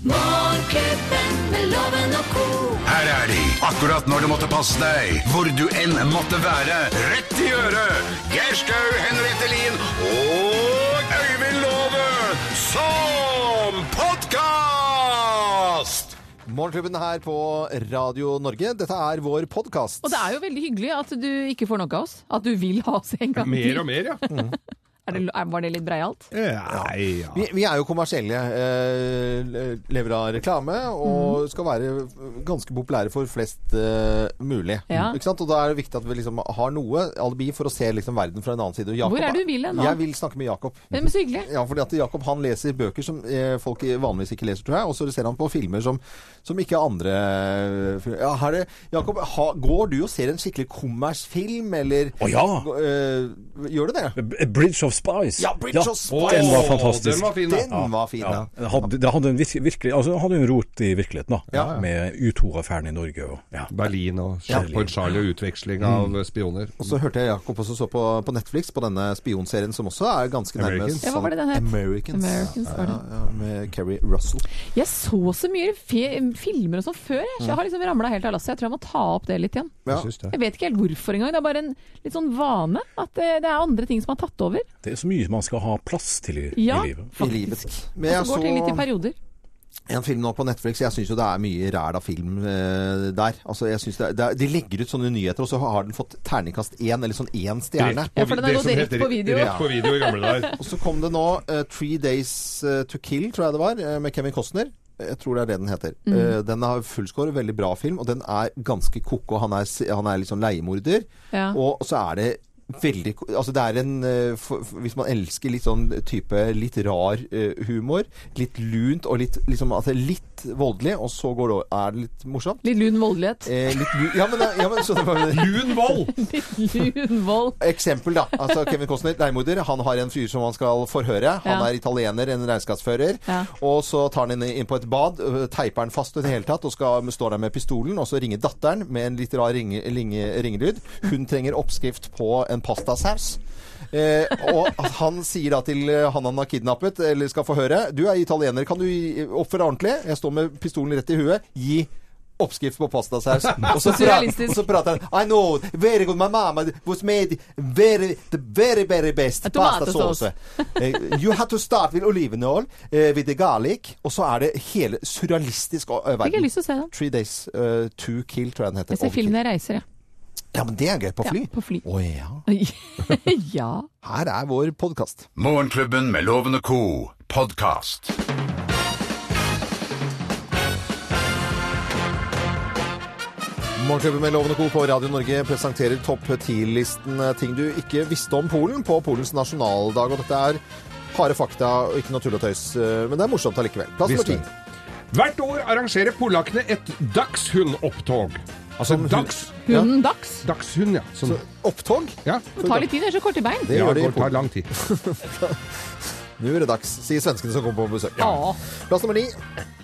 Morgenklubben med loven og ko. Her er de, akkurat når du måtte passe deg, hvor du enn måtte være. Rett i øret! Geir Skau, Henriette Lien og Øyvind Låve som podkast! Morgenklubben her på Radio Norge. Dette er vår podkast. Og det er jo veldig hyggelig at du ikke får nok av oss. At du vil ha oss en gang til. Mer og mer, ja. Er det, er, var det litt breialt? Nei, ja. vi, vi er jo kommersielle. eh, lever av reklame Mhm. og skal være ganske populære for flest eh, mulig. Ja. Ikke sant? Og da er det viktig at vi liksom har noe alibi for å se liksom verden fra en annen side. Og Jakob Hvor er du vil hen nå? Jeg vil snakke med Jakob. Men så hyggelig. Ja, fordi at Jakob han leser bøker som eh, folk vanligvis ikke leser, tror jeg. Og så ser han på filmer som, som ikke andre eh, ja, her er, Jakob, ha, går du og ser en skikkelig kommersfilm, eller Å ja! eh, Gjør du det? B- Bridge of Spies. Ja, Bridge of Spies. Den var Åh, fantastisk. Den var fin, da. Den var fin, ja. Det hadde, det hadde en vis- virkelig, altså, det hadde en rot i virkeligheten, da. Ja, ja. Med U2-affæren i Norge og ja. Berlin og Port Charlie og utveksling av spioner. Og så hørte jeg Jakob også så på, på Netflix på denne spionserien som også er ganske nærme Americans. Ja, hva var det den het? Americans. Americans, var det. Ja, ja, med Kerry Russell. Jeg så så mye fe filmer og sånn før. Jeg, jeg har liksom ramla helt av lasset. Jeg tror jeg må ta opp det litt igjen. Ja. Jeg syns det. Jeg vet ikke helt hvorfor engang. Det er bare en litt sånn vane. At det, det er andre ting som har tatt over. Det er så mye man skal ha plass til i, Ja, i livet. I livet. Men Og jeg så går ting litt i så perioder. en film nå på Netflix. Jeg syns jo det er mye ræl av film eh, der. Altså, jeg synes det er, det er, de legger ut sånne nyheter, og så har den fått terningkast én, eller sånn én stjerne. Ja, for den er Det nå som direkte heter på video. Rett på video i gamle dager. Og så kom det nå eh, Three Days eh, to Kill, tror jeg det var, eh, med Kevin Costner. Jeg tror det er det den heter. Eh, den har fullscore, veldig bra film, og den er ganske ko-ko. Han, er s- han er liksom leiemorder. Ja. Og så er det veldig ko- Altså det er en eh, for, for, Hvis man elsker litt sånn type litt rar eh, humor, litt lunt og litt liksom altså litt voldelig, og så går det over, er det litt morsomt. Litt lun voldelighet. Eh, litt lu- Ja, men, ja, men skjønner du hva jeg mener? Lun vold! Litt lun vold. Eksempel, da. Altså Kevin Costner, leiemorder. Han har en fyr som han skal forhøre. Han Ja. er italiener, en regnskapsfører. Ja. Og så tar han henne inn på et bad, øh, teiper han fast i det hele tatt, og skal, står der med pistolen. Og så ringer datteren med en litt rar ringe, linge- ringelyd. Hun trenger oppskrift på en pastasaus. Eh, og han sier da til eh, han han har kidnappet, eller skal forhøre Du er italiener, kan du gi- oppføre deg ordentlig? Jeg står med pistolen rett i huet. Gi oppskrift på pastasaus. Og så, prater, Surrealistisk. og så prater han I know, very good, my mama was made very, the very, very best Tomatesauce. pastasauce. Eh, you had to start with olivenål, eh, with the garlic, og så er det hele surrealistisk uh, Fikk jeg verden. lyst til å se den. Three Days uh, To Kill, tror jeg den heter. Jeg ser Overkill. film når jeg reiser, jeg. Ja, men det er gøy på fly. Ja, på fly. Å ja. ja. Her er vår podkast. Morgenklubben med Loven og Co. podkast. Morgenklubben med Loven og Co. på Radio Norge presenterer topp 10-listen eh, ting du ikke visste om Polen på Polens nasjonaldag. Og dette er harde fakta og ikke noe tull og tøys, eh, men det er morsomt allikevel. Plass nummer ti. Visste. Hvert år arrangerer polakkene et dagshundopptog. Altså Som hun- dags, Hunden Dags. dagshund, ja. Som, Opptog? ja. Det tar litt tid, det er så korte bein. Det Ja, gjør de i det tar Polen. lang tid. Nå er det dags, sier svenskene som kommer på besøk. Ja. Plass nummer ni.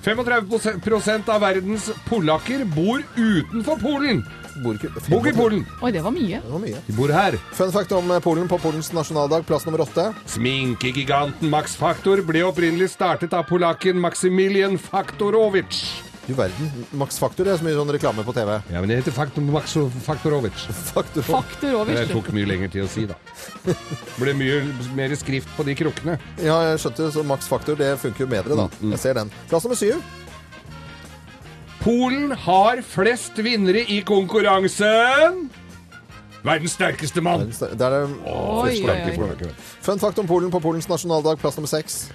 35 prosent av verdens polakker bor utenfor Polen. Bor ikke- Bor i Polen. Oi, det var mye. Det var mye. De bor her. Fun fact om eh, Polen på Polens nasjonaldag, plass nummer åtte. Sminkegiganten Max Faktor ble opprinnelig startet av polakken Maximilian Faktorowicz. Du verden. Max Faktor, det er så mye sånn reklame på TV. Ja, men det heter Faktor Max Faktorowicz. Faktor. Faktor over. Det tok mye lenger tid å si, da. Ble mye mer skrift på de krukkene. Ja, jeg skjønte det. Så Max Faktor, det funker jo bedre, da. Jeg ser den. Plass nummer syv. Polen har flest vinnere i konkurransen Verdens sterkeste mann! Der er det Oi, oi, oi. Fun fact om Polen på Polens nasjonaldag, plass nummer seks.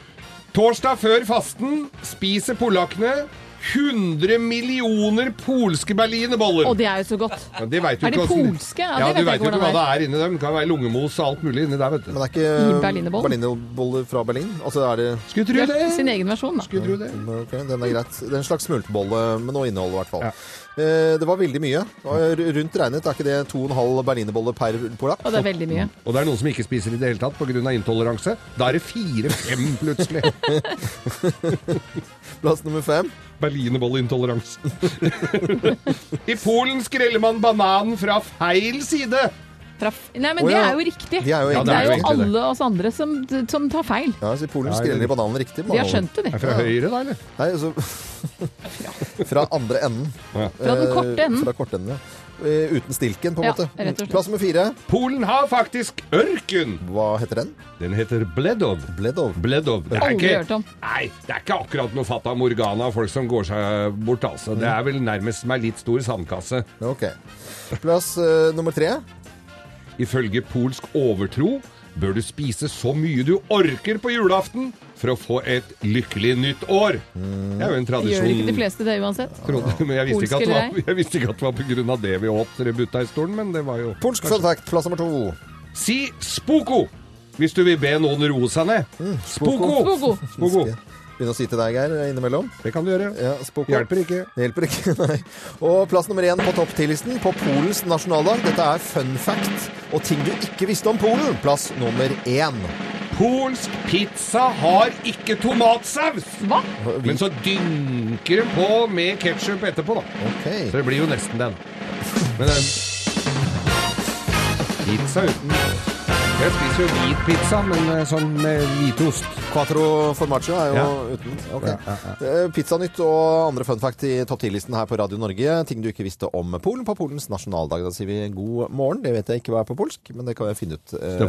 Torsdag før fasten spiser polakkene 100 millioner polske berlinerboller. Og det er jo så godt. Ja, det vet du Er det ikke hvordan- polske? Ja, Ja, det vet jeg du vet jo ikke ikke hva hvordan det er inni dem. Det kan være lungemos og alt mulig inni der, vet Men du. det er ikke I berlinerbollen? berlinerboller fra Berlin? Altså er det Skulle tro Det det. er sin egen versjon, da. Skulle tro det. Ok, den er greit. Det er en slags smultbolle med noe innhold, i hvert fall. Ja. Eh, det var veldig mye. Og r- Rundt regnet er ikke det 2,5 berlinerboller per polakk. Og det er veldig mye. Og det er noen som ikke spiser i det hele tatt pga. intoleranse. Da er det fire-fem plutselig. Plass nummer fem. Berlinerbolleintoleranse. I Polen skreller man bananen fra feil side. traff Nei, men Å, det ja. er jo riktig. De er jo det, egentlig er jo det. alle oss andre som, som tar feil. Ja, så I Polen Ja, skreller det- de bananen riktig. De har bananen. skjønt det, Er de. fra høyre, da, eller? Nei, altså, fra andre enden. Fra den korte Eh, enden. Fra korte enden, ja. Eh, Uten stilken, på en Ja, måte. rett og slett. Plass nummer fire. Polen har faktisk ørken! Hva heter den? Den heter Bledov. Bledov. Bledov. Det Aldri hørt om. Nei, det er ikke akkurat noe Fata Morgana av folk som går seg bort, altså. Det er vel nærmest som ei litt stor sandkasse. Ok. Plass eh, nummer tre. Ifølge polsk overtro bør du spise så mye du orker på julaften for å få et lykkelig nytt år. Det er jo en Gjør tradisjon. ikke de fleste det uansett? Trodde, men jeg visste, ikke at Polske det var, jeg visste ikke at det var på grunn av det vi åt Rebutta-stolen, men det var jo Polsk fun fact. Plass nummer to. Si spoko! Hvis du vil be noen roe seg ned. Spoko! Spoko. Spoko. Begynne å si til deg, Geir, innimellom. Det kan du gjøre. Ja, spoko. Hjelper ikke. Det hjelper ikke, nei. Og plass nummer én på topp 10-listen på Polens nasjonaldag. Dette er fun fact og ting du ikke visste om Polen. Plass nummer én. Polsk pizza har ikke tomatsaus! Hva? Men så dynker den på med ketsjup etterpå, da. Ok. Så det blir jo nesten den. Men den Pizza uten Jeg spiser jo hvit pizza, men eh, sånn med hvitost. Quatro formaggio er jo Ja. uten. Ok. Eh, Pizzanytt og andre fun fact i topp 10-listen her på Radio Norge. Ting du ikke visste om Polen på Polens nasjonaldag. Da sier vi god morgen. Det vet jeg ikke hva er på polsk, men det kan jeg finne ut. eh,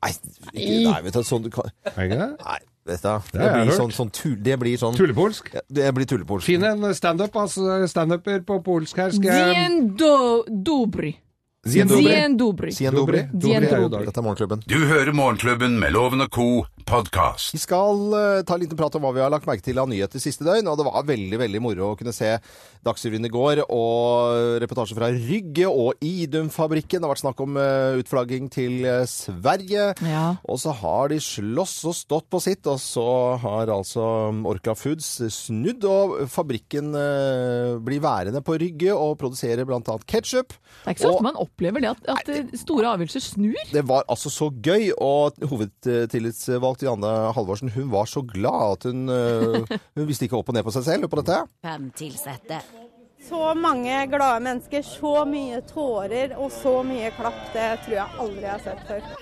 Nei, ikke, nei, vet du, sånn du kan... Er ikke det? Nei, vet du, det, har jeg blir hørt. sånn, sånn, tull- det blir sånn... Tullepolsk. Ja, Det blir tullepolsk. Finn en standup, altså. Standuper på polsk her. Skal jeg Dien do, dobry. Zien dobry. Dien dobry. Zien dobry. Dobry. Dobry er jo dag. Dette er Morgenklubben. Du hører Morgenklubben med Loven og Co. podkast. Vi skal eh, ta en liten prat om hva vi har lagt merke til av nyheter siste døgn. Og det var veldig veldig moro å kunne se Dagsrevyen i går og reportasje fra Rygge og Idum-fabrikken. Det har vært snakk om eh, utflagging til eh, Sverige. Ja. Og så har de slåss og stått på sitt, og så har altså Orkla Foods snudd. Og fabrikken eh, blir værende på Rygge og produserer bl.a. ketsjup. Det er ikke så Og- ofte man opplever det at, at eh, store avgjørelser snur. Det var altså så gøy, og hovedtillitsvalgt Janne Halvorsen hun var så glad at hun, øh, hun visste ikke opp og ned på seg selv på dette. Fem tilsette. Så mange glade mennesker, så mye tårer og så mye klapp. Det tror jeg aldri jeg har sett før.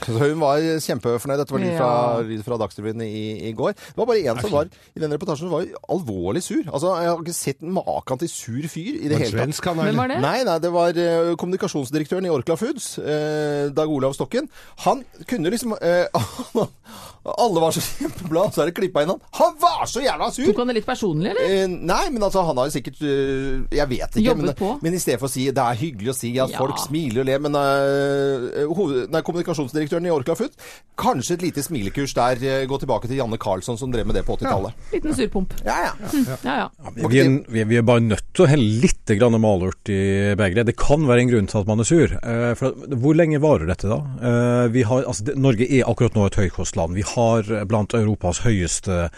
Så hun var kjempefornøyd. Dette var lyd fra, Ja. lyd fra Dagsrevyen i, i går. Det var bare én som var i den reportasjen som var alvorlig sur. Altså, Jeg har ikke sett maken til sur fyr i det En hele tatt. svensk kanal. Hvem var det? Nei, nei, det var eh, kommunikasjonsdirektøren i Orkla Foods, eh, Dag Olav Stokken. Han kunne liksom eh, Alle var så kjempeblad, så er det klippa inn han. Han var så jævla sur! Tok han det litt personlig, eller? Eh, nei, men altså, han har jo sikkert øh, Jeg vet ikke. Jobbet Men, på. men i stedet for å si det er hyggelig å si at Ja. folk smiler og ler, men øh, hoved, nei, kommunikasjonsdirektøren i Orkla Food Kanskje et lite smilekurs der. øh, gå tilbake til Janne Karlsson som drev med det på Mm. 80-tallet. Liten surpump. Ja, ja. Ja, ja. Vi, vi, er, vi, vi er bare nødt til å helle litt grann malurt i begeret. Det kan være en grunn til at man er sur. Eh, for at- hvor lenge varer dette da? Eh, vi har, altså, det, Norge er akkurat nå et høykostland. Vi har eh, blant Europas høyeste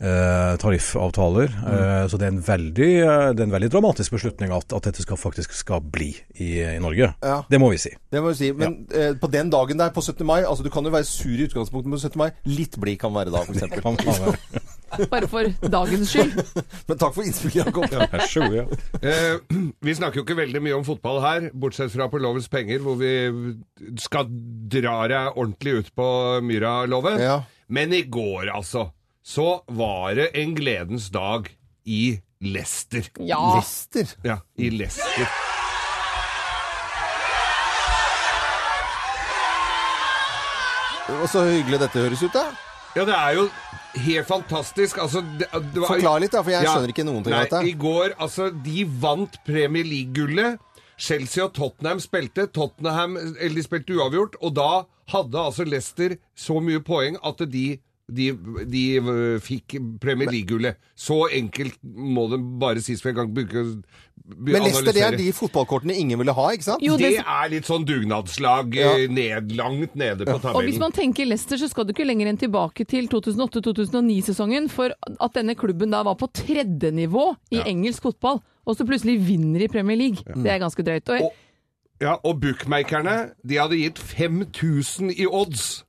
eh, tariffavtaler. Eh, så det er, en veldig, eh, det er en veldig dramatisk beslutning at, at dette skal faktisk skal bli i, i Norge. Ja. Det må vi si. Det må du si. Men øh, på den dagen der, på 17. mai Altså, du kan jo være sur i utgangspunktet på 17. mai. Litt blid kan være da, f.eks. Kan- kan være. Bare for dagens skyld. Men takk for innspillet, Jakob. Vær så god, ja. Eh, vi snakker jo ikke veldig mye om fotball her, bortsett fra på Lovens penger, hvor vi skal dra deg ordentlig ut på Myra-loven. Ja. Men i går, altså, så var det en gledens dag i Leicester. Ja. Lester. Ja, i Leicester. Og så hyggelig dette høres ut, da. Ja, det er jo helt fantastisk. Altså, det, det var, Forklar litt, da, for jeg skjønner ikke noen ting av nei, dette. I går, altså, de vant Premier League-gullet. Chelsea og Tottenham spilte. Tottenham eller de spilte uavgjort, og da hadde altså Leicester så mye poeng at de de, de øh, fikk Premier League-gullet. Så enkelt må det bare sies, for jeg kan ikke be- Men Lester, det er analysere. de fotballkortene ingen ville ha, ikke sant? Jo, Det det, er litt sånn dugnadslag Ja. eh, ned, langt nede på og hvis tabellen. man tenker Leicester, så skal du ikke lenger enn tilbake til 2008-2009-sesongen for at denne klubben da var på tredje nivå i engelsk fotball, og så plutselig vinner i Premier League. Det er ganske drøyt. Og, Og- Ja, og bookmakerne, de hadde gitt 5000 i odds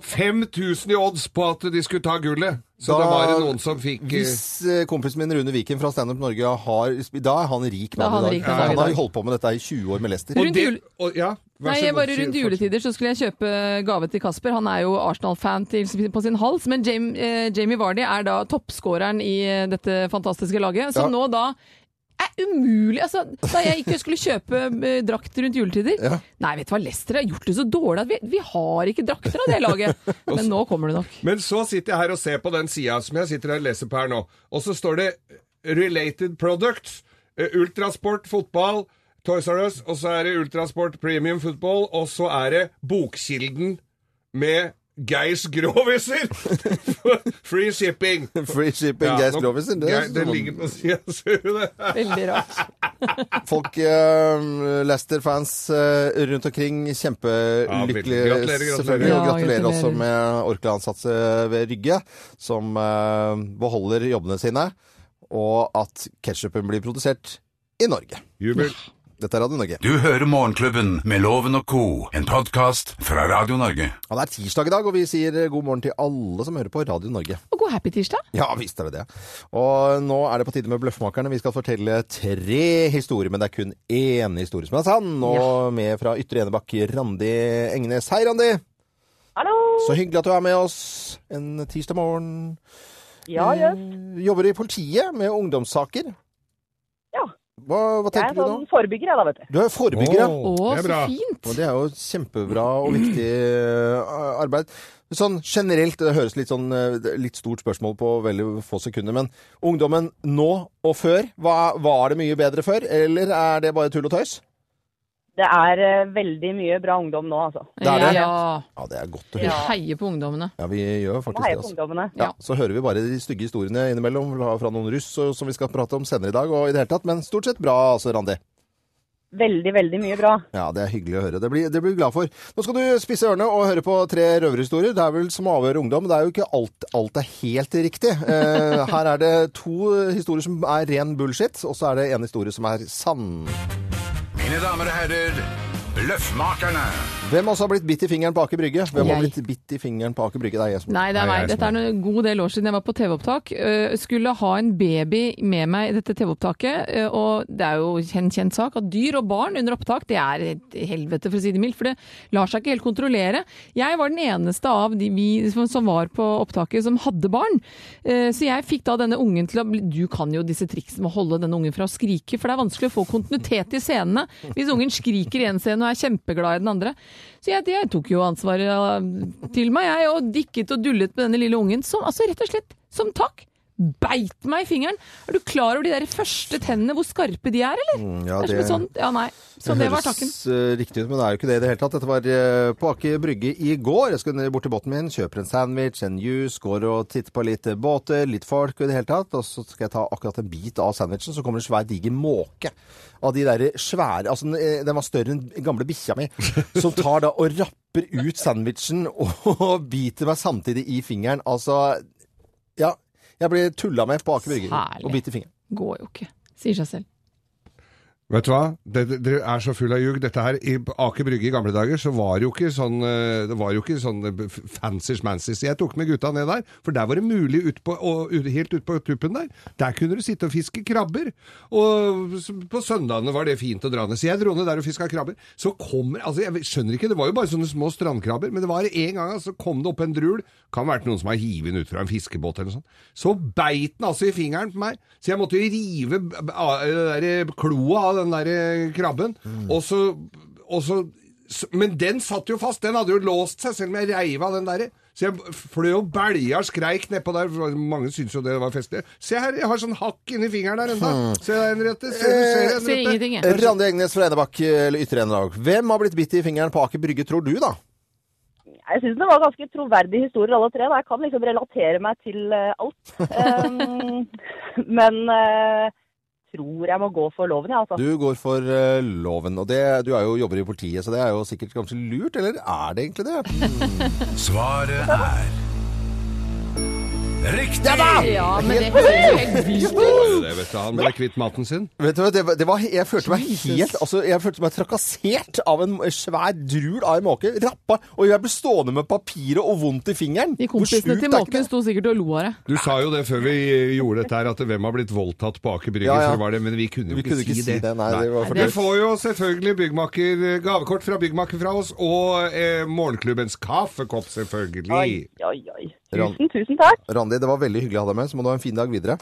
5000 i odds på at de skulle ta gullet. Så Da- da var det noen som fikk eh, Hvis eh, kompisen min Rune Viken fra Standup Norge har Da er han rik Da er han mann i dag. rik mann i han har dag. jo holdt på med dette i 20 år med Lester. og Rundt det, jul- og, ja, vær Nei, så jeg god, bare si- Rundt fortsett. juletider så skulle jeg kjøpe gave til Kasper. Han er jo Arsenal-fan til- på sin hals, men Jamie, eh, Jamie Vardy er da toppskåreren i eh, dette fantastiske laget, som Ja. nå da er umulig. Altså, da jeg ikke skulle kjøpe eh, drakt rundt juletider Ja. Nei, vet du hva, Leicester har gjort det så dårlig at vi, vi har ikke drakter av det laget. Men nå kommer det nok. Men så sitter jeg her og ser på den sida som jeg sitter her og leser på her nå, og så står det eh, Related Products, eh, Ultrasport fotball, Toys R Us, og så er det Ultrasport Premium Football, og så er det Bokkilden med Geirs Groviser! Free shipping! Free shipping, Ja, Geir nå- Skroviser. Det, sånn Geir- det sånn- ligger på sida, ser du det? Veldig rart. Folk, eh, Leicester-fans eh, rundt omkring, kjempelykkelige Ja, gratulerer, gratulerer. selvfølgelig. Og Ja, gratulerer også gratulerer. med Orkla-ansatte ved Rygge, som eh, beholder jobbene sine. Og at ketsjupen blir produsert i Norge. Jubel. Dette er Radio Norge. Du hører Morgenklubben med Loven og Co., en podkast fra Radio Norge. Ja, det er tirsdag i dag, og vi sier eh, god morgen til alle som hører på Radio Norge. Og god happy tirsdag. Ja, visst er det det. Og nå er det på tide med Bløffmakerne. Vi skal fortelle tre historier, men det er kun én historie som er sann. Og med fra Ytre Enebakk, Randi Engnes. Hei, Randi! Hallo! Så hyggelig at du er med oss en tirsdag morgen. Ja, ja. Eh, Jobber i politiet med ungdomssaker. Ja. Hva, hva Jeg er tenker du sånn nå? forebygger, jeg da, vet du. Du er forebygger, ja. Å, det er så bra. fint. Og det er jo kjempebra og viktig eh, arbeid. Sånn generelt, det høres litt sånn eh, litt stort spørsmål på veldig få sekunder, men ungdommen nå og før, hva, var det mye bedre før, eller er det bare tull og tøys? Det er eh, veldig mye bra ungdom nå, altså. Det er det. Ja. Ja, det er godt å Vi høre. heier på ungdommene. Ja, vi gjør Må faktisk det, heie på altså. ungdommene. Ja, så hører vi bare de stygge historiene innimellom fra noen russ og- som vi skal prate om senere i dag, og i det hele tatt, men stort sett bra, altså, Randi. Veldig, veldig mye bra. Ja, det er hyggelig å høre. Det blir, det blir vi glad for. Nå skal du spisse ørene og høre på tre røverhistorier. Det er vel som å avhøre ungdom. Det er jo ikke alt, alt er helt riktig. Eh, her er det to historier som er ren bullshit, og så er det en historie som er sann. Mine damer og herrer, Bløffmakerne. Hvem også har blitt bitt i fingeren på Aker Brygge? Hvem har Jeg. blitt bitt i fingeren på Aker Brygge? Det er jeg som Nei, det er Nei, meg. jeg Dette er en god del år siden jeg var på TV-opptak. Øh, Skulle ha en baby med meg i dette TV-opptaket, øh, og det er jo en kjent sak at dyr og barn under opptak, det er et helvete, for å si det mildt, for det lar seg ikke helt kontrollere. Jeg var den eneste av de vi som som var på opptaket som hadde barn, Eh, så jeg fikk da denne ungen til å bli Du kan jo disse triksene med å holde denne ungen fra å skrike, for det er vanskelig å få kontinuitet i scenene hvis ungen skriker i en scene og er kjempeglad i den andre. Så jeg, jeg tok jo ansvaret eh, til meg, jeg, og dikket og dullet med denne lille ungen, som altså rett og slett, som takk, beit meg i fingeren. Er du klar over de der første tennene, hvor skarpe de er, eller? Mm, ja, det... er det- som sånn et sånt, ja, nei. Så det var takken. høres eh, riktig ut, men det er jo ikke det i det hele tatt. Dette var eh, på Aker Brygge i går. Jeg skulle ned bort til båten min, kjøper en sandwich, en juice, går og titter på litt eh, båter, litt folk og i det hele tatt. Og så skal jeg ta akkurat en bit av sandwichen, så kommer det en svær diger måke av de der svære Altså, den, eh, den var større enn gamle bikkja mi, som tar da og rapper ut sandwichen og biter meg samtidig i fingeren. Altså, ja. Jeg ble tulla med på Aker Brygge Særlig. og bit i fingeren. Går jo ikke. Sier seg selv. Vet du hva? Dere det er så full av ljug. Dette her, I Aker Brygge i gamle dager så var det jo ikke sånn, eh, det var jo ikke sånn eh, f- fancy-smancy. Jeg tok med gutta ned der, for der var det mulig ut på, og, ut- helt ut på tuppen der. Der kunne du sitte og fiske krabber. Og s- på søndagene var det fint å dra ned. Så jeg dro ned der og fiska krabber. Så kommer Altså, jeg skjønner ikke, det var jo bare sånne små strandkrabber, men det var en gang, altså, kom det opp en drul. Kan ha vært noen som har hivet den ut fra en fiskebåt eller noe sånt. Så beit den altså i fingeren på meg, så jeg måtte jo rive b- b- av- eh, der, eh, kloa av den der eh, krabben. Og så, og så s- Men den satt jo fast, den hadde jo låst seg, selv om jeg reiv av den derre. Så jeg b- fløy og belja og skreik nedpå der, for mange syntes jo det var festlig. Se her, jeg har sånn hakk inni fingeren der enda. Se der, Henriette. Se, du ser, Ser Henriette. Eh, ingenting, jeg. Eh, Randi Egnes fra eh, Enebakk, eller Ytre Enebakk. Hvem har blitt bitt i fingeren på Aker Brygge, tror du, da? Jeg syns det var ganske troverdige historier, alle tre. da. Jeg kan liksom relatere meg til eh, alt. Um, men eh, tror jeg må gå for loven, jeg, ja, altså. Du går for eh, loven, og det, du er jo jobber i politiet, så det er jo sikkert kanskje lurt, eller er det egentlig det? Svaret er Riktig! Ja da! Ja, men det høres jo helt vilt ut. Det vet du, han ble kvitt maten sin. Vet du hva, det var, det var, jeg følte meg helt altså, Jeg følte meg trakassert av en svær drul av en måke. Rappa. Og jeg ble stående med papiret og vondt i fingeren. De Hvor kompisene sjukt til er ikke måken det? sto sikkert og lo av det. Du sa jo det før vi eh, gjorde dette her, at hvem har blitt voldtatt på Aker Brygge, Ja, ja. for det var det, men vi kunne jo Vi ikke, kunne ikke si det, nei, det var for Du drøyt. får jo selvfølgelig byggmaker, eh, gavekort fra byggmaker fra oss, og eh, morgenklubbens kaffekopp, selvfølgelig. Oi, oi, oi. Ran- Tusen, tusen takk. Randi, det var veldig hyggelig å ha deg med. Så må du ha en fin dag videre.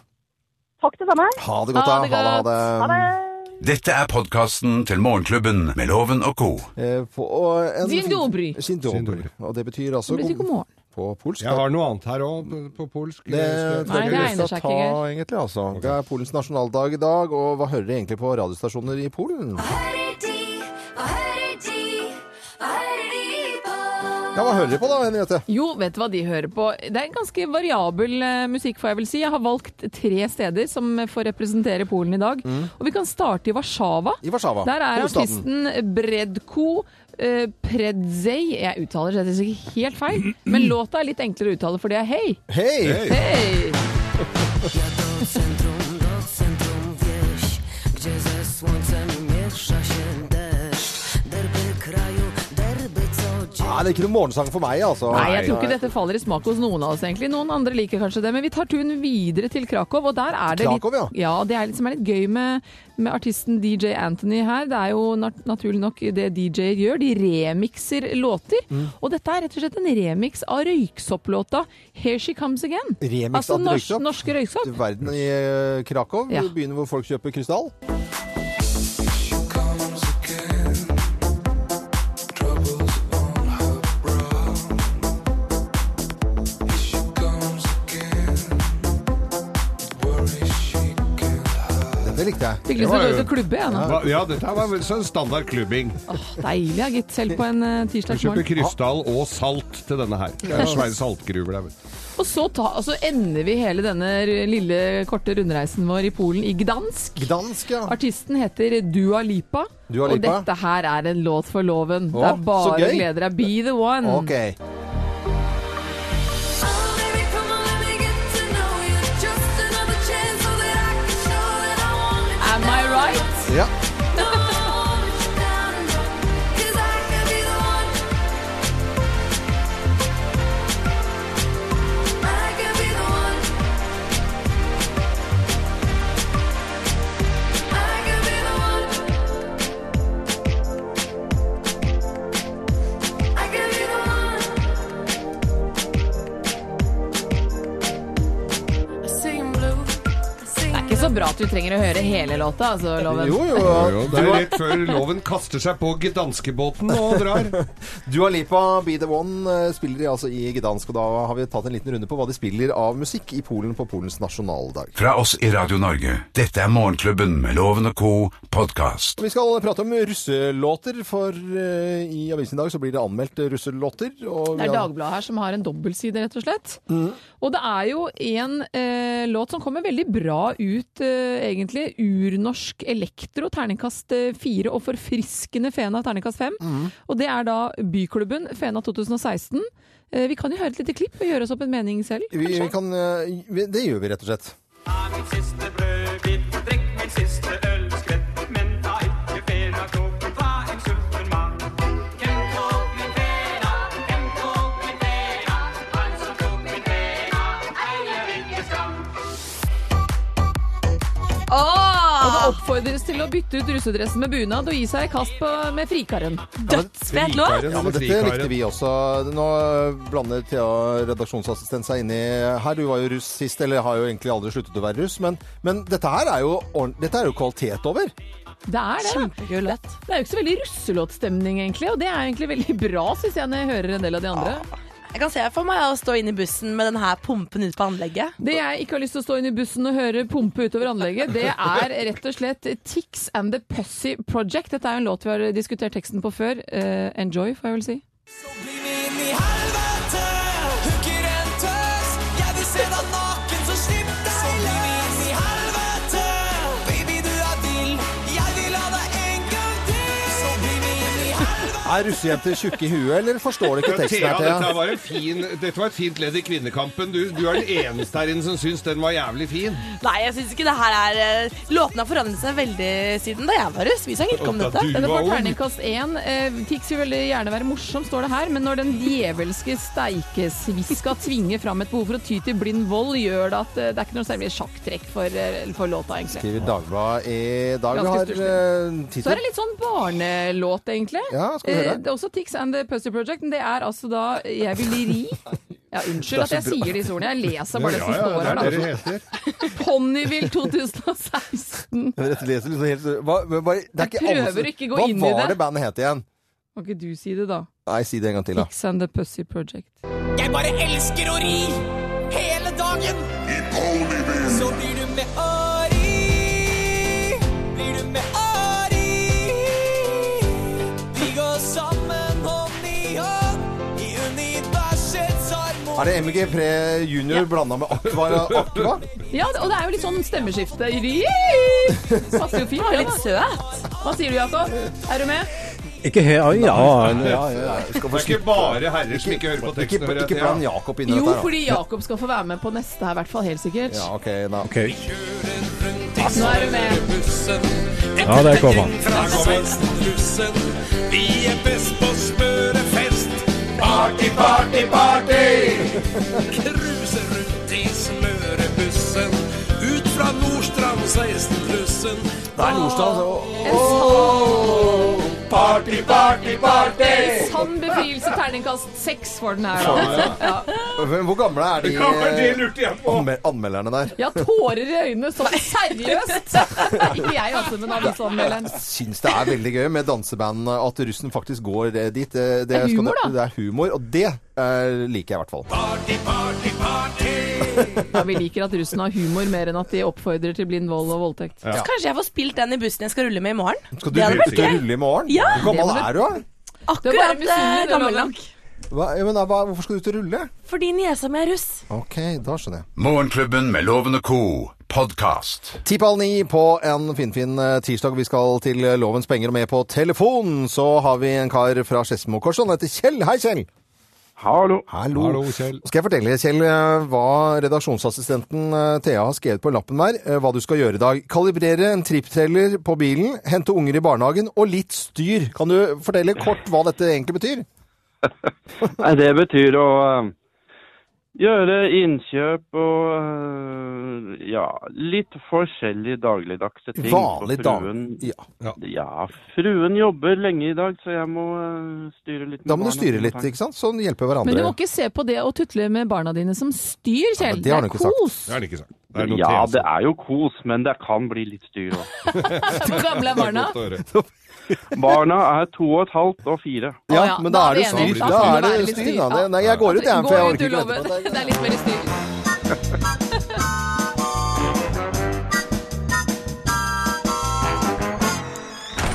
Takk til samme. Ha det godt, da. Ha det Ha det. Ha det. Dette er podkasten til Morgenklubben med Loven og co. Eh, på- og en Dzień fin- dobry. Dzień dobry. Dzień dobry. Og det betyr altså Det betyr god morgen. på polsk. Jeg har noe annet her òg, på polsk. eh, Det tror Nei, jeg det ikke egner vi seg skal ikke, ta, egentlig. altså. Det er Polens nasjonaldag i dag, og hva hører de egentlig på radiostasjoner i Polen? hører de, hva hører de, hva hører de på? Ja, Hva hører de på da, Henriette? Jo, vet du hva de hører på? Det er ganske variabel eh, musikk, får jeg vel si. Jeg har valgt tre steder som eh, får representere Polen i dag. Og vi kan starte i Warszawa. Mm. I Warszawa. Der er hovedstaden. artisten Bredko eh, Predzej. Jeg uttaler det sikkert helt feil, men låta er litt enklere å uttale, for det er hei. Hei! Hei. Hei! Do centrum, do centrum wieś, gdzie ze słońcem miesza się deszcz. Derby kraju, derby codziennie. Nei, det er ikke noen morgensang for meg, altså. Nei, jeg tror ikke dette faller i smak hos noen av oss, egentlig. Noen andre liker kanskje det, men vi tar turen videre til Krakow, og der er det Krakow, ja. litt Ja, det er litt, som er litt gøy med, med artisten DJ Anthony her. Det er jo nat naturlig nok det DJ-er gjør. De remikser låter. Og dette er rett og slett en remix av røyksopplåta 'Here She Comes Again'. Remix altså av norsk, Røyksopp? norsk røyksopp. Verden i eh, Krakow, Ja. byen hvor folk kjøper krystall. Dette likte jeg. Fikk lyst til å Det var gå ut jo- og klubbe, jeg nå. Hva- Ja, dette her var vel sånn standard klubbing. Åh, Deilig, ja, gitt. Selv på en eh, Du kjøper tirsdagsmorgen. krystall og salt til denne her. Det er svære saltgruver der. vet du. Og så ta, altså ender vi hele denne lille, korte rundreisen vår i Polen i Gdansk. Gdansk, ja. Artisten heter Dua Lipa, Dua og Lipa. dette her er en låt for loven. Å, det er så bare gøy. gleder deg. Be the one. Ok. Oh, baby, come on, let me get to know you. Just another chance so that I can show that I want it. Am I right? Ja. Don't want you down, 'cause I could be the one. I could be the one. I could be the one. I could be the one. Det er ikke så bra at du trenger å høre hele låta, altså, loven. Jo, jo. Jo, Det er rett før loven kaster seg på gdanskebåten og drar. Dua Lipa, Be The One, eh, spiller de altså i Gdansk. Og da har vi tatt en liten runde på hva de spiller av musikk i Polen på Polens nasjonaldag. Fra oss i Radio Norge. Dette er Morgenklubben med Loven og co. podkast. Vi skal prate om russelåter, for eh, i avisen i dag så blir det anmeldt russelåter. Og Det er vi har- Dagbladet her som har en dobbeltside, rett og slett. Mm. Og det er jo en eh, låt som kommer veldig bra ut, eh, egentlig. Urnorsk elektro, terningkast eh, fire, og forfriskende Fena, terningkast fem. Mm. Og det er da Byklubben, Fena 2016. Eh, vi kan jo høre et lite klipp og gjøre oss opp en mening selv. vi, kanskje? vi kan, eh, vi, det gjør vi rett og slett. Ta mitt siste brødbit, drikk min siste øl, skvett, men ta ikke fena klokken fra en sulten mann. Hvem tok min fena? Hvem tok min fena? Han som tok min fena, eier ikke skam. Og det oppfordres til å bytte ut russedressen med bunad og gi seg i kast på, med frikaren. Dødsfet låt! Frikaren, Ja, men Dette frikaren. likte vi også. Nå eh, blander Thea, redaksjonsassistent, seg inn i her. Du var jo russ sist, eller har jo egentlig aldri sluttet å være russ, men, men dette her er jo, ordent- dette er jo kvalitet over. Det er det. Kjempegøy låt. Det er jo ikke så veldig russelåtstemning, egentlig. Og det er egentlig veldig bra, syns jeg, når jeg hører en del av de andre. Jeg kan se for meg å stå inne i bussen med den her pumpen ut på anlegget. Det jeg ikke har lyst til å stå inne i bussen og høre pumpe utover anlegget, det er rett og slett Tix and The Pussy Project. Dette er jo en låt vi har diskutert teksten på før. Eh, enjoy, får jeg vel si. Så blir vi inn i helvete, hooker en tøs. Jeg vil se deg naken, så slipp deg løs. Så blir vi inn i helvete, baby du er vill. Jeg vil ha deg en gang til. Så blir vi inn i helvete. Er russejenter tjukke i huet, eller forstår de ikke teksten Thea, her, dette Thea? var, en fin, dette var et fint ledd i Kvinnekampen. Du, du er den eneste her inne som syns den var jævlig fin. Nei, jeg syns ikke det her er eh, Låtene har forandret seg veldig siden da jeg var russ. Vi sang ikke om Og da dette. du Denne var får ung. terningkast én. Eh, Tix vil veldig gjerne være morsom, står det her, men når den djevelske steikesviska tvinger fram et behov for å ty til blind vold, gjør det at eh, det er ikke noe særlig sjakktrekk for, eh, for låta, egentlig. Skriver Dagbladet i dag. Vi Ganske har eh, Så er tittel. det litt sånn barnelåt, egentlig. Ja, skal vi høre? Eh, Det er også Tix and The Pussy Project, men det er altså da Jeg vil ri Ja, unnskyld at jeg sier disse ordene. Jeg leser bare det som står her. da. heter. Ponyvill 2016. Dette leser liksom helt hva, hva, hva, det er Jeg ikke alle prøver som- ikke gå Hva inn i var det. det bandet het igjen? Kan ikke du si det, da? Nei, si det en gang til, da. Tix and The Pussy Project. Jeg bare elsker å ri hele dagen. Så blir du med å ri. Blir du med å ri. Vi går sammen hånd i hånd i universets Er harmoni. det MG Pre Junior blanda med Aqua? Aqua? Ja, og det er jo litt sånn stemmeskifte. Ri! Passer jo fint. Det var det, litt da. søt. Hva sier du, Jakob? Er du med? Ikke he... ah, Ja, ja. Ja, ja, ja. Skal få Det er ikke slippe- bare herrer som ikke hører på Ikke, teksten. ikke bland Jakob inn Jo, i dette her, da. fordi Jakob skal få være med på neste her, i hvert fall. Helt sikkert. Ja, ok, da. Ok. Nå er du med. Ja, der kom han. Vi er best på smørefest. Party, party, party! Cruiser rundt i smørebussen. Ut fra Nordstrand 16-plussen. Det er Nordstrand. så- Party, party, party! Sann befrielse, terningkast seks for den her. Da. Men Hvor gamle er de Det eh, lurte jeg på. anmel anmelderne der? Ja, tårer i øynene. Så seriøst! Ikke jeg, altså, men avisanmelderen. Syns det er veldig gøy med danseband at russen faktisk går eh, dit. Det, er skal humor, du- da. Det er humor, og det eh, liker jeg i hvert fall. Party, party, party! Ja, vi liker at russen har humor mer enn at de oppfordrer til blind vold og voldtekt. Så kanskje jeg får spilt den i bussen jeg skal rulle med i morgen. Skal du Det hadde ut vært og gøy. rulle i morgen? Ja. Hvor gammel Det må du- er du, da? Du er bare Akkurat eh, misunnelig, du, gammel Loven. nok. Hva- ja, men da, hva- Hvorfor skal du ut og rulle? Fordi niesa mi er russ. Ok, da skjønner jeg. Morgenklubben med Loven og Co. Podcast. Ti på halv ni på en finfin eh, tirsdag. Vi skal til eh, Lovens penger og med på telefon. Så har vi en kar fra Skedsmo kors. Han heter Kjell. Hei, Kjell. Hallo. Hallo. Hallo, Kjell. Skal jeg fortelle deg, Kjell, eh, hva redaksjonsassistenten eh, Thea har skrevet på lappen der, eh, hva du skal gjøre i dag. Kalibrere en trippteller på bilen, hente unger i barnehagen og litt styr. Kan du fortelle kort hva dette egentlig betyr? Nei, det betyr å eh, gjøre innkjøp og eh, ja, litt forskjellige dagligdagse ting. for Vanlig fruen, dame. Ja. Ja, fruen jobber lenge i dag, så jeg må eh, styre litt. med Da må du barna styre mine, litt, takk. ikke sant? Sånn hjelper hverandre. Men du må ikke se på det å tutle med barna dine som styr, Ja, Kjell. men det har han ikke sagt. kos. Det er det ikke sagt. Det er noe Ja, tese. det er jo kos, men det kan bli litt styr òg. Hvor gamle er Det er barna? godt å høre. Barna er to og et halvt og fire. Ja, Å ja, men da, da er er det vi styr. enige. Da Da er det må det være litt styr. styr. Da. Det- Nei, jeg går ut, jeg, for Gå jeg ut, orker du, ikke vente Loven. på det. Det er litt mer styr.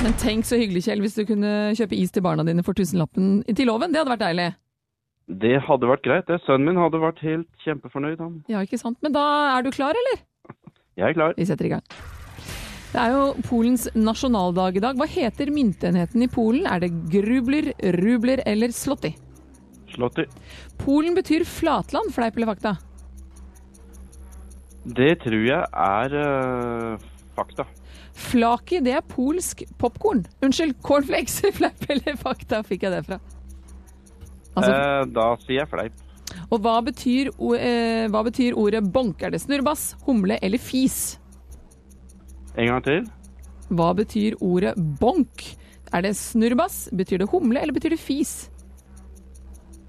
Men tenk så hyggelig, Kjell, hvis du kunne kjøpe is til barna dine for tusenlappen til Loven. Det hadde vært deilig. Det hadde vært greit. det. Sønnen min hadde vært helt kjempefornøyd. han. Ja, ikke sant. Men da er du klar, eller? Jeg er klar. Vi setter i gang. Det er jo Polens nasjonaldag i dag. Hva heter myntenheten i Polen? Er det grubler, rubler eller slotti? Slåtti. Polen betyr flatland, fleip eller fakta? Det tror jeg er eh, fakta. Flaki, det er polsk popkorn. Unnskyld, cornflakes, fleip eller fakta fikk jeg det fra. Altså, Eh, da sier jeg fleip. og hva betyr, o- eh, hva betyr ordet bonk? Er det snurrebass, humle eller fis? En gang til. Hva betyr ordet bonk? Er det snurrebass, betyr det humle eller betyr det fis?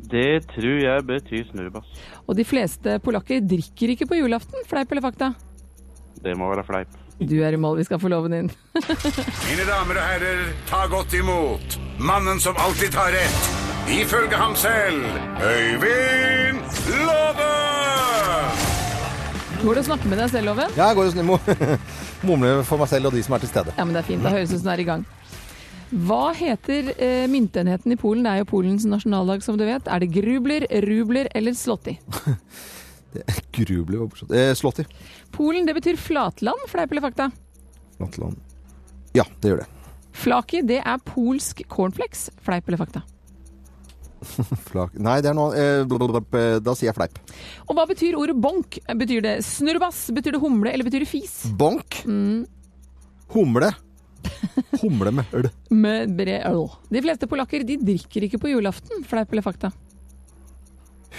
Det tror jeg betyr snurrebass. Og de fleste polakker drikker ikke på julaften, fleip eller fakta? Det må være fleip. Du er i mål, vi skal få loven inn. Mine damer og herrer, ta godt imot mannen som alltid tar rett. Ifølge ham selv Øyvind Låve! Går det å snakke med deg selv, Loven? Ja, jeg går og snur- mo- mumler for meg selv og de som er til stede. Ja, men det er fint. Da høres det ut som du er i gang. Hva heter eh, myntenheten i Polen? Det er jo Polens nasjonaldag, som du vet. Er det grubler, rubler eller slotti? Grubler var morsomt. Eh, Slått i. Polen, det betyr flatland, fleip eller fakta? Flatland. Ja, det gjør det. Flaki, det er polsk cornflakes. Fleip eller fakta? Flak. Nei, det er noe eh, blablabla, eh, Da sier jeg fleip. Og hva betyr ordet bonk? Betyr det snurrebass? Betyr det humle? Eller betyr det fis? Bonk. Humle. Humle med øl. Med bre øl. De fleste polakker de drikker ikke på julaften. Fleip eller fakta?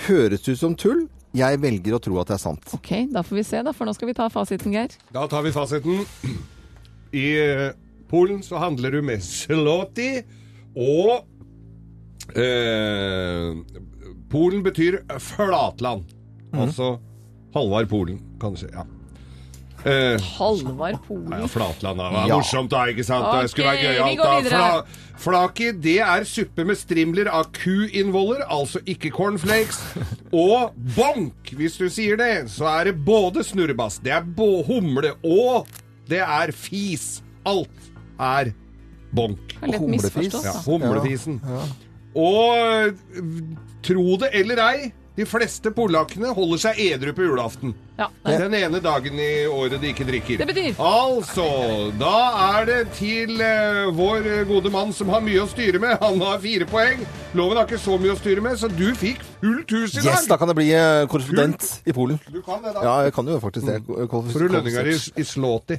Høres ut som tull. Jeg velger å tro at det er sant. Ok, da får vi se, da, for nå skal vi ta fasiten, Geir. Da tar vi fasiten. I eh, Polen så handler du med zloty og eh, Polen betyr flatland. Altså Halvard Polen, kanskje. Ja. Eh, Halvard Polen. ja, flatland det var Ja. morsomt, da. ikke sant? det skulle Ok, være vi gøyalt. går da. videre. Fla flaki, det er suppe med strimler av kuinnvoller, altså ikke cornflakes. Og bonk, hvis du sier det, så er det både snurrebass, det er bå- humle, og det er fis. Alt er bonk. Det er lett Humlefis. misforstått, da. Ja, humlefisen. Ja, ja. Og eh, tro det eller ei, de fleste polakkene holder seg edru på julaften. Den ene dagen i året de ikke drikker. Det betyr- Altså, da er det til eh, vår gode mann som har mye å styre med. Han har fire poeng. Loven har ikke så mye å styre med, så du fikk fullt hus i dag. Yes, da kan jeg bli eh, korrespondent i Polen. Du kan det, da. Ja, Mm. jeg kan jo faktisk det. Får du lønninger i, i slåti?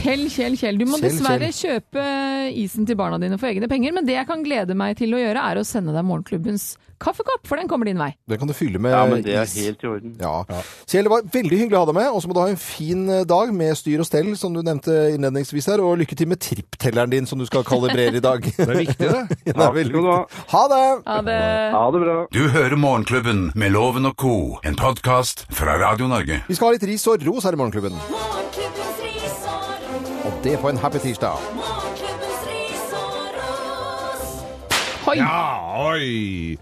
Kjell, Kjell, Kjell. Du må Kjell, dessverre kjøpe isen til barna dine for egne penger, men det jeg kan glede meg til å gjøre, er å sende deg morgenklubbens kaffekopp, for den kommer din vei. Den kan du fylle med Ja, men det er is. helt i orden. Ja. Kjell, det var veldig hyggelig å ha deg med, og så må du ha en fin eh, dag med styr og stell, som du nevnte innledningsvis her, og lykke til med tripptelleren din, som du skal kalibrere i dag. det er viktig, det. ja, det er veldig viktig. Ha det! Ha det. Du hører Morgenklubben med Loven og co., en podkast fra Radio Norge. Vi skal ha litt ris og ros her i Morgenklubben, Morgenklubbens ris og ros. og det på en happy tirsdag. Morgenklubbens ris og ros. Hoi. Ja, oi.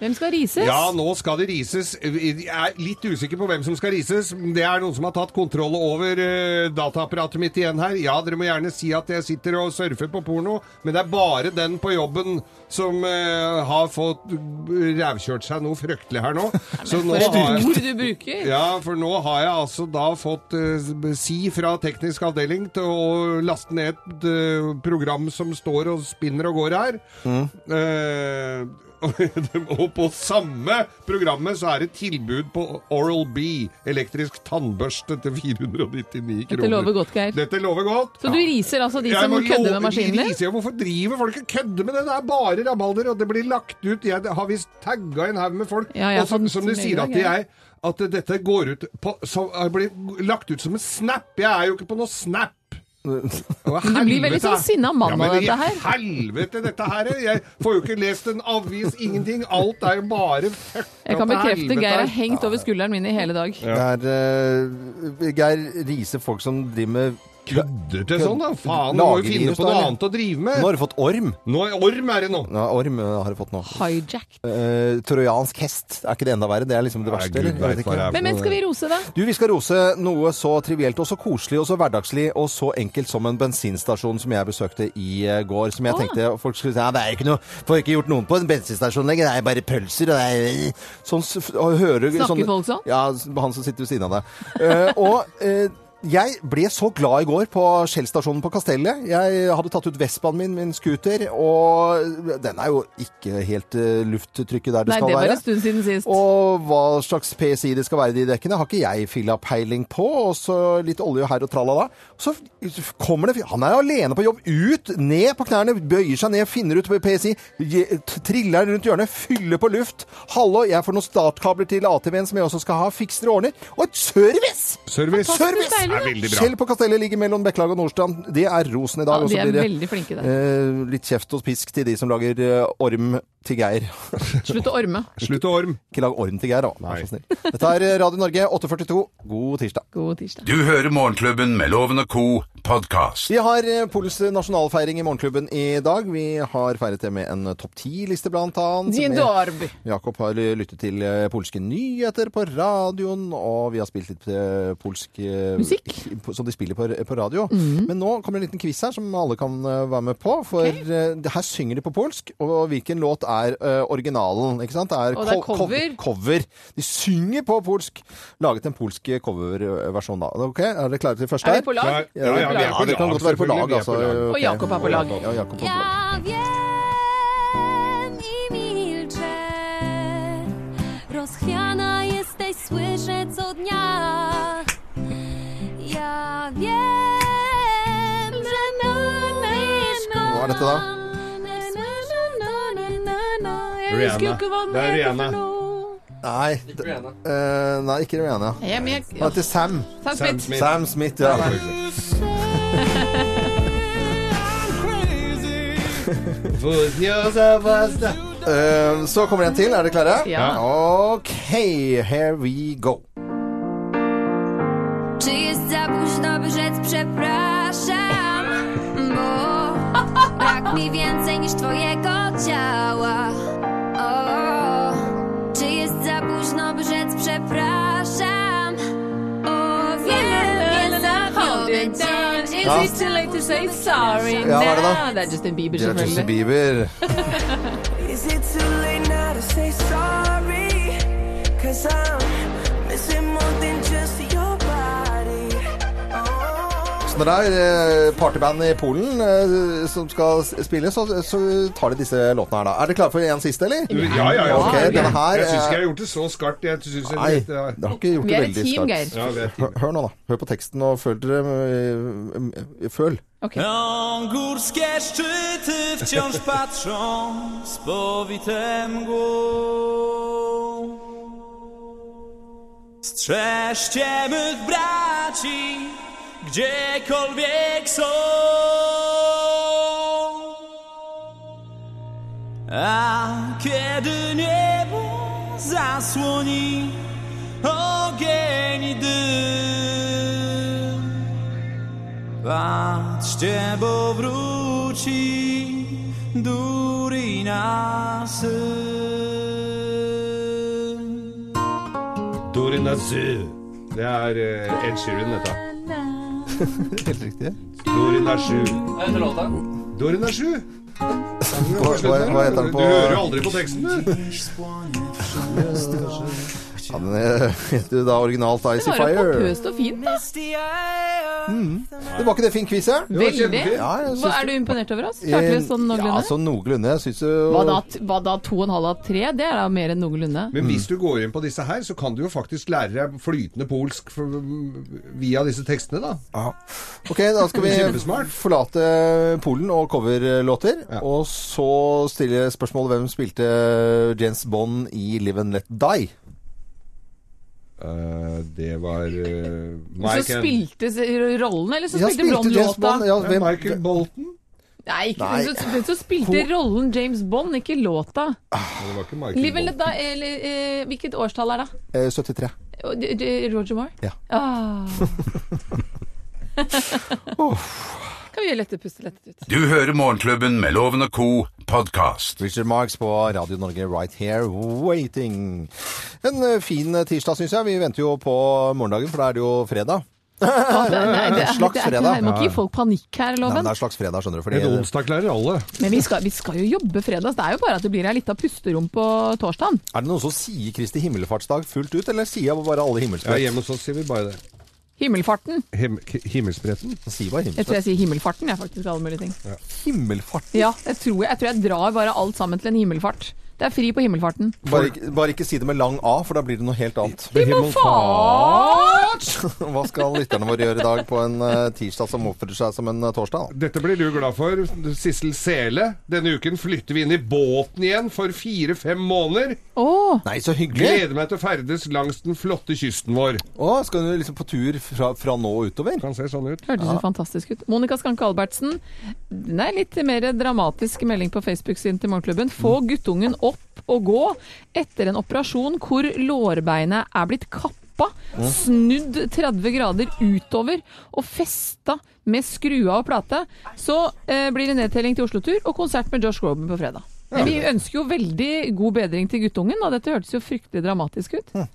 Hvem skal rises? Ja, nå skal det rises. Jeg er litt usikker på hvem som skal rises. Det er noen som har tatt kontroll over eh, dataapparatet mitt igjen her. Ja, dere må gjerne si at jeg sitter og surfer på porno, men det er bare den på jobben som eh, har fått eh, rævkjørt seg noe fryktelig her nå. Så nå For et har jeg- ord du bruker. ja, for nå har jeg altså da fått eh, si fra teknisk avdeling til å laste ned et eh, program som står og spinner og går her. Eh, og på samme programmet så er det tilbud på Oral-B, elektrisk tannbørste til 499 kroner. Dette lover godt, Geir. Dette lover godt. Så du riser altså de Jeg som må kødder love- med maskinen din? riser jo. Hvorfor driver folk og kødder med det? Det er bare rabalder, og det blir lagt ut. Jeg har visst tagga en haug med folk. Ja, jeg har og som, fått som de mail sier i dag, at de ja. er At dette går ut på som, er blitt lagt ut som en snap. Jeg er jo ikke på noe snap. Men du blir veldig sånn sinna mann av dette her. Helvete, dette her. Jeg får jo ikke lest en avis, ingenting. Alt er jo bare fucka Jeg kan til bekrefte helvete altså. Geir her. har hengt over skulderen min i hele dag. Det er eh, Geir Riise, folk som driver med Kødder til sånn, da? Faen, du må jo finne på noe annet å drive med. Nå har du fått orm. Nå, orm er det nå. Ja, orm eh, har du fått nå. Hijacked. Eh, trojansk hest. Er ikke det enda verre? Det er liksom det verste, Gud eller? Jeg vet vet hva det ikke. er for Men hvem skal vi rose, da? Du, Vi skal rose noe så trivielt og så koselig og så hverdagslig og så enkelt som en bensinstasjon som jeg besøkte i eh, går. Som jeg Å. tenkte folk skulle si ja, det er ikke noe, får ikke gjort noen på en bensinstasjon lenger. Det er bare pølser og det er sånn, s- og hører, Snakker sånn- folk sånn? Ja, s- han som sitter ved siden av deg. Eh, og eh, jeg ble så glad i går på Shell-stasjonen på Kastellet. Jeg hadde tatt ut Vespaen min, min scooter, og den er jo ikke helt eh, lufttrykket der det Nei, skal det var være. en stund siden sist. Og hva slags PSI det skal være i de dekkene, har ikke jeg filla peiling på. Og så litt olje her og tralala. Så kommer det Han er alene på jobb. Ut, ned på knærne, bøyer seg ned, finner ut PSI. je- t- Triller rundt hjørnet, fyller på luft. Hallo, jeg får noen startkabler til ATV-en som jeg også skal ha. Fikser og ordner. Og et service! Service! Service. Fantastisk deilig, da. Er veldig bra. Skjell på Kastellet ligger mellom Bekkelaget og Nordstrand. Det er rosen i Ja, dag. og de så er blir det, veldig flinke der. eh, litt kjeft og pisk til de som lager eh, orm til Geir. Slutt å orme. Slutt å orm. Ikke lag orm til Geir, da. Vær så snill. Dette er eh, Radio Norge 842. God tirsdag. God tirsdag. Du hører Morgenklubben med Loven og co. podkast. Vi har eh, Polens nasjonalfeiring i Morgenklubben i dag. Vi har feiret det med en topp ti-liste, blant annet. Dzień Med- dobry. Jakob har lyttet til eh, polske nyheter på radioen, og vi har spilt litt eh, polsk eh, Musikk. Mhm. Som de spiller på, på radio. Men nå kommer det en liten quiz her som alle kan eh, være med på. For eh, det her synger de på polsk, og hvilken låt er eh, originalen? Ikke sant? Det er Og det er co- cover. cover. De synger på polsk. Laget en polsk coverversjon, eh, da. Ok, Er dere klare til første Er vi her? på lag? Ja, ja, vi vi er Ja, på det kan lag, godt være på selvfølgelig, lag, vi er altså. på lag. Og ok. Jakob er på lag. Ja, Jakob er på lag. Ja wiem i milczę. Rozchwiana jesteś, słyszę co dnia. Ja wiem, że miłość Hva er dette, da? Jeg husker jo ikke hva den heter for noe. Nei, d- eh, nei ikke Rihanna. Ja, men jeg- Han heter Sam. Sam Smith. Sam Smith, ja. Eh, Så kommer en til. Er dere klare? Ja. OK, here we go. Czy jest za późno, by rzec przepraszam? Bo brak mi więcej niż twojego ciała. O, czy jest za późno, by rzec przepraszam? O, wiem, jest za Hold it down. Is Ja. it too late to say sorry Ja, hva er det da? now? Det er Justin Bieber, Det er Justin selvfølgelig. Bieber. Is it too late now to say sorry? Cause I'm missing more than just your body. Oh. Så når det er eh, partyband i Polen eh, som skal s- spille, så, så tar de disse låtene her, da. Er dere klare for en siste, eller? Ja, ja, ja. Ok, selvfølgelig. denne her jeg syns eh, ikke jeg har gjort det så skarpt. Jeg synes jeg Nei, litt, det ja. har ikke gjort Vi det er et veldig team, skarpt. Ja, vi er et Hør, hør nå, da. Hør på teksten og føl dere eh, Føl. On górskie szczyty wciąż patrzą z powite mgłą. Strzeżcie mych braci, gdziekolwiek są. A kiedy niebo zasłoni ogień i dym, Patrzcie, bo wróci Durina syn. Dorina Zoo. Det er eh, Ed Sheeran, dette. Helt riktig. Dorina Zoo. Hva heter låta? Dorina Zoo. Hva, hva, hva heter den på Du hører jo aldri på teksten, du. Ja, den eh, heter jo da originalt Det Icy var jo Fire. pompøst og fint, da. Det var ikke det fin quiz, jeg? Veldig. Ja, jeg Hva- syns Er du imponert over oss? det. Klarte vi det sånn Ja, noenlunde? sånn noenlunde. Jeg syns jo Hva da, hva da to og en halv av tre? Det er da mer enn noenlunde. Men hvis du går inn på disse her, så kan du jo faktisk lære deg flytende polsk for, via disse tekstene, da. Ok, da skal vi Kjempesmart. forlate Polen og coverlåter. Og så stille spørsmålet hvem spilte James Bond i Live and Let Die? Eh, det var eh, Så Mike and- spilte s- rollen, eller så Ja, spilte Blond James låta? Bond, ja, hvem- Ja, Michael Bolton? Nei, ikke, Nei. Så, så- så spilte rollen James Bond, ikke låta. Nei, Det var ikke Michael Liv eller Bolton. da, eller, eh, hvilket årstall er det? Eh, 73. Og det- det- Roger Moore? Ja. Ah. kan vi gjøre lette puste lettet ut? Du hører Morgenklubben med Loven og Co. podkast. Richard Marks på Radio Norge Right Here Waiting. En eh, fin tirsdag, syns jeg. Vi venter jo på morgendagen, for da er det jo fredag. Ja, det- nei, det- Slags det er ikke- fredag. Her må ikke gi folk panikk her, Nei, men Loven. det er slags fredag, skjønner du. Fordi, En onsdag klarer alle. Men vi skal, vi skal jo jobbe fredag. så Det er jo bare at det blir ei lita pusterom på torsdagen. Er det noen som sier Kristi himmelfartsdag fullt ut, eller sier jeg bare alle Ja, himmelsbrett? hjemme hos oss sier vi bare det. Himmelfarten. Him himmelspretten? Si bare Jeg tror jeg sier himmelfarten, jeg, faktisk. Alle mulige ting. Himmelfart? Ja, jeg tror jeg, jeg tror jeg drar bare alt sammen til en himmelfart. Det er fri på himmelfarten. Bare, ikke- bare ikke si det med lang A, for da blir det noe helt annet. Hva skal lytterne våre gjøre i dag på en eh, tirsdag som oppfører seg som en eh, torsdag? da? Dette blir du glad for, Sissel Sele. Denne uken flytter vi inn i båten igjen for fire-fem måneder. Nei, så hyggelig! Gleder meg til å ferdes langs den flotte kysten vår. Å, skal du liksom på tur fra, fra nå og utover? Kan se sånn ut. Hørtes jo fantastisk ut. Monica Skanke Albertsen, den er litt mer dramatisk melding på Facebook-siden til Morgenklubben. Få guttungen opp og gå etter en operasjon hvor lårbeinet er blitt kappa, Mm. snudd 30 grader utover og festa med skrua og plate. Så eh, blir det nedtelling til Oslo-tur og konsert med Josh Groban på fredag. Men vi ønsker jo veldig god bedring til guttungen, og dette hørtes jo fryktelig dramatisk ut.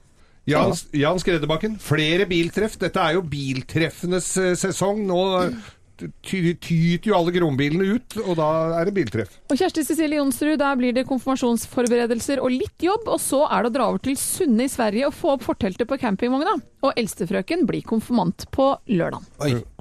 Jan, Jan Skredderbakken, flere biltreff. Dette er jo biltreffenes eh, sesong. Nå ty- tyter jo alle grombilene ut, og da er det biltreff. Og Kjersti Cecilie Jonsrud, der blir det konfirmasjonsforberedelser og litt jobb, og så er det å dra over til Sunne i Sverige og få opp forteltet på campingvogna. Og eldstefrøken blir konfirmant på lørdag.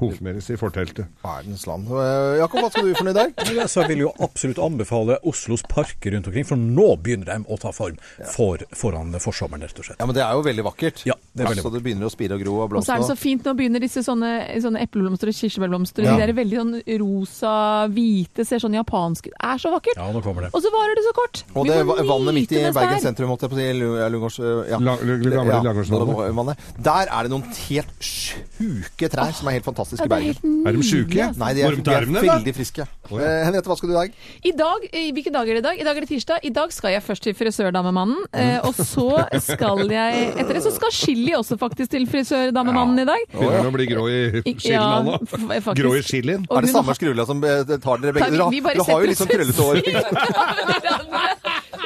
Konfirmeres i forteltet. Verdens land. Eh, Jakob, hva skal du for noe i dag? Så jeg vil jo absolutt anbefale Oslos parker rundt omkring, for nå begynner de å ta form for, foran forsommeren, rett og slett. Ja, men det er jo veldig vakkert. Ja, det er veldig altså, det begynner å spire og gro og Og så blomstre. er det så fint, nå begynner disse sånne, sånne epleblomster og kirsebærblomster. og Ja. De der veldig sånn rosa-hvite, ser sånn japansk ut. Er så vakkert! Ja, nå kommer det. Og så varer det så kort! Og Vi det må va- vannet midt i nyte mens det Bergen er. sentrum, holdt jeg på å si. Lu- ja, Lungårds, øh, ja. gamle Ja, Langårdsvannet. Langårdsvannet. Der er det noen helt sjuke trær som er helt ja, fantastiske i det er Bergen. helt Er de sjuke? nydelig, altså. Nei, de er, de er Ormtermene, da? veldig friske. Å, ja. Eh, Henriette, hva skal du i dag? I dag, eh, Hvilken dag er det i dag? I dag er det tirsdag. I dag skal jeg først til frisørdamemannen. eh, Og så skal jeg Etter det så skal chili også faktisk til frisørdamemannen i dag. Begynner å bli grå i I- skillen, ja, han f- da. faktisk. Grå i skillen. Og Er det hun samme har- skrula som eh, tar dere begge? Nei, vi- Dere har- vi bare dere har jo litt setter sånn oss- krøllete hår.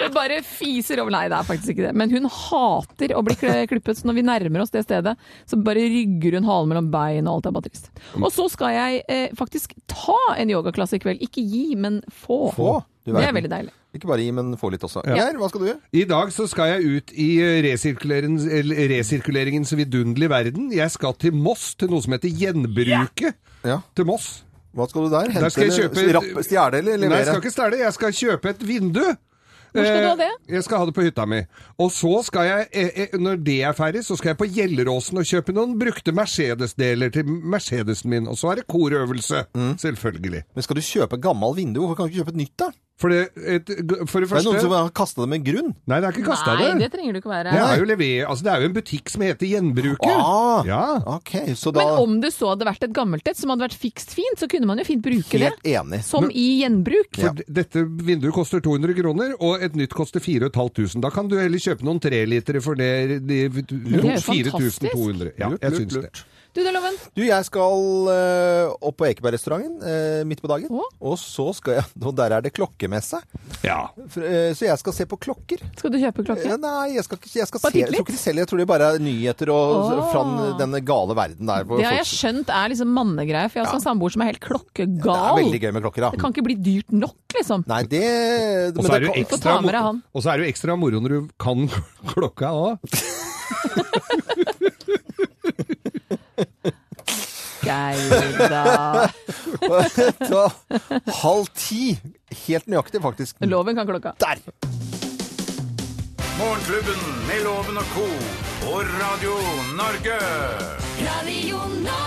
Jeg bare fiser over Nei, det er faktisk ikke det. Men hun hater å bli kl- klippet. Så når vi nærmer oss det stedet, så bare rygger hun halen mellom bein og alt er bare trist. Og så skal jeg eh, faktisk ta en yogaklasse i kveld. Ikke gi, men få. Få? Du Det verden. er veldig deilig. Ikke bare gi, men få litt også. Ja. Geir, hva skal du gjøre? I dag så skal jeg ut i resirkuleringens, eller resirkuleringens vidunderlige verden. Jeg skal til Moss, til noe som heter Gjenbruket. Til Moss. Hva skal du der? skal jeg Hente kjøpe... eller rappe- stjele eller levere? Nei, jeg skal ikke stjele. Jeg skal kjøpe et vindu. Hvor skal du ha Eh, Jeg skal ha det på hytta mi. Og så skal jeg, eh, eh, når det er ferdig, så skal jeg på Gjelleråsen og kjøpe noen brukte Mercedes-deler til Mercedesen min. Og så er det korøvelse, Mm. selvfølgelig. Men skal du kjøpe gammel vindu? Hvorfor kan du ikke kjøpe et nytt, da? For det, et, for det Det er første noen som har kasta det med grunn. Nei, det er ikke kasta Nei, det trenger du ikke være. Det er, jo lever, altså det er jo en butikk som heter Gjenbruket. Ah, ja. ok, så da Men om det så hadde vært et gammelt et som hadde vært fikst fint, så kunne man jo fint bruke det. Helt enig. Som Men- i gjenbruk. For d- Dette vinduet koster 200 kroner, og et nytt koster 4500. Da kan du heller kjøpe noen trelitere for det, de, er jo 4200. Ja, Lurt, jeg lurt, syns det. Du, Deloven. Du, jeg skal øh, opp på Ekebergrestauranten øh, midt på dagen. Og så skal jeg Og der er det klokkemesse. Ja. For, øh, så jeg skal se på klokker. Skal du kjøpe klokke? Eh, Nei, jeg skal ikke jeg skal Bare se, titt jeg tror litt? ikke de selger. Jeg tror det bare er nyheter og Åh. fra den gale verden der. hvor Det har jeg folk- skjønt er liksom mannegreie, for jeg har også en samboer som er helt det er klokkegal. veldig gøy med klokker, da. Det kan ikke bli dyrt nok, liksom. Nei, det Og så er det jo Få ta ekstra, med deg mo- han. og så er det jo ekstra moro når du kan klokka òg. Geir, da. da. Halv ti. Helt nøyaktig, faktisk. Loven kan klokka. Der! Morgenklubben med Loven og co. på Radio Norge. Radio Norge.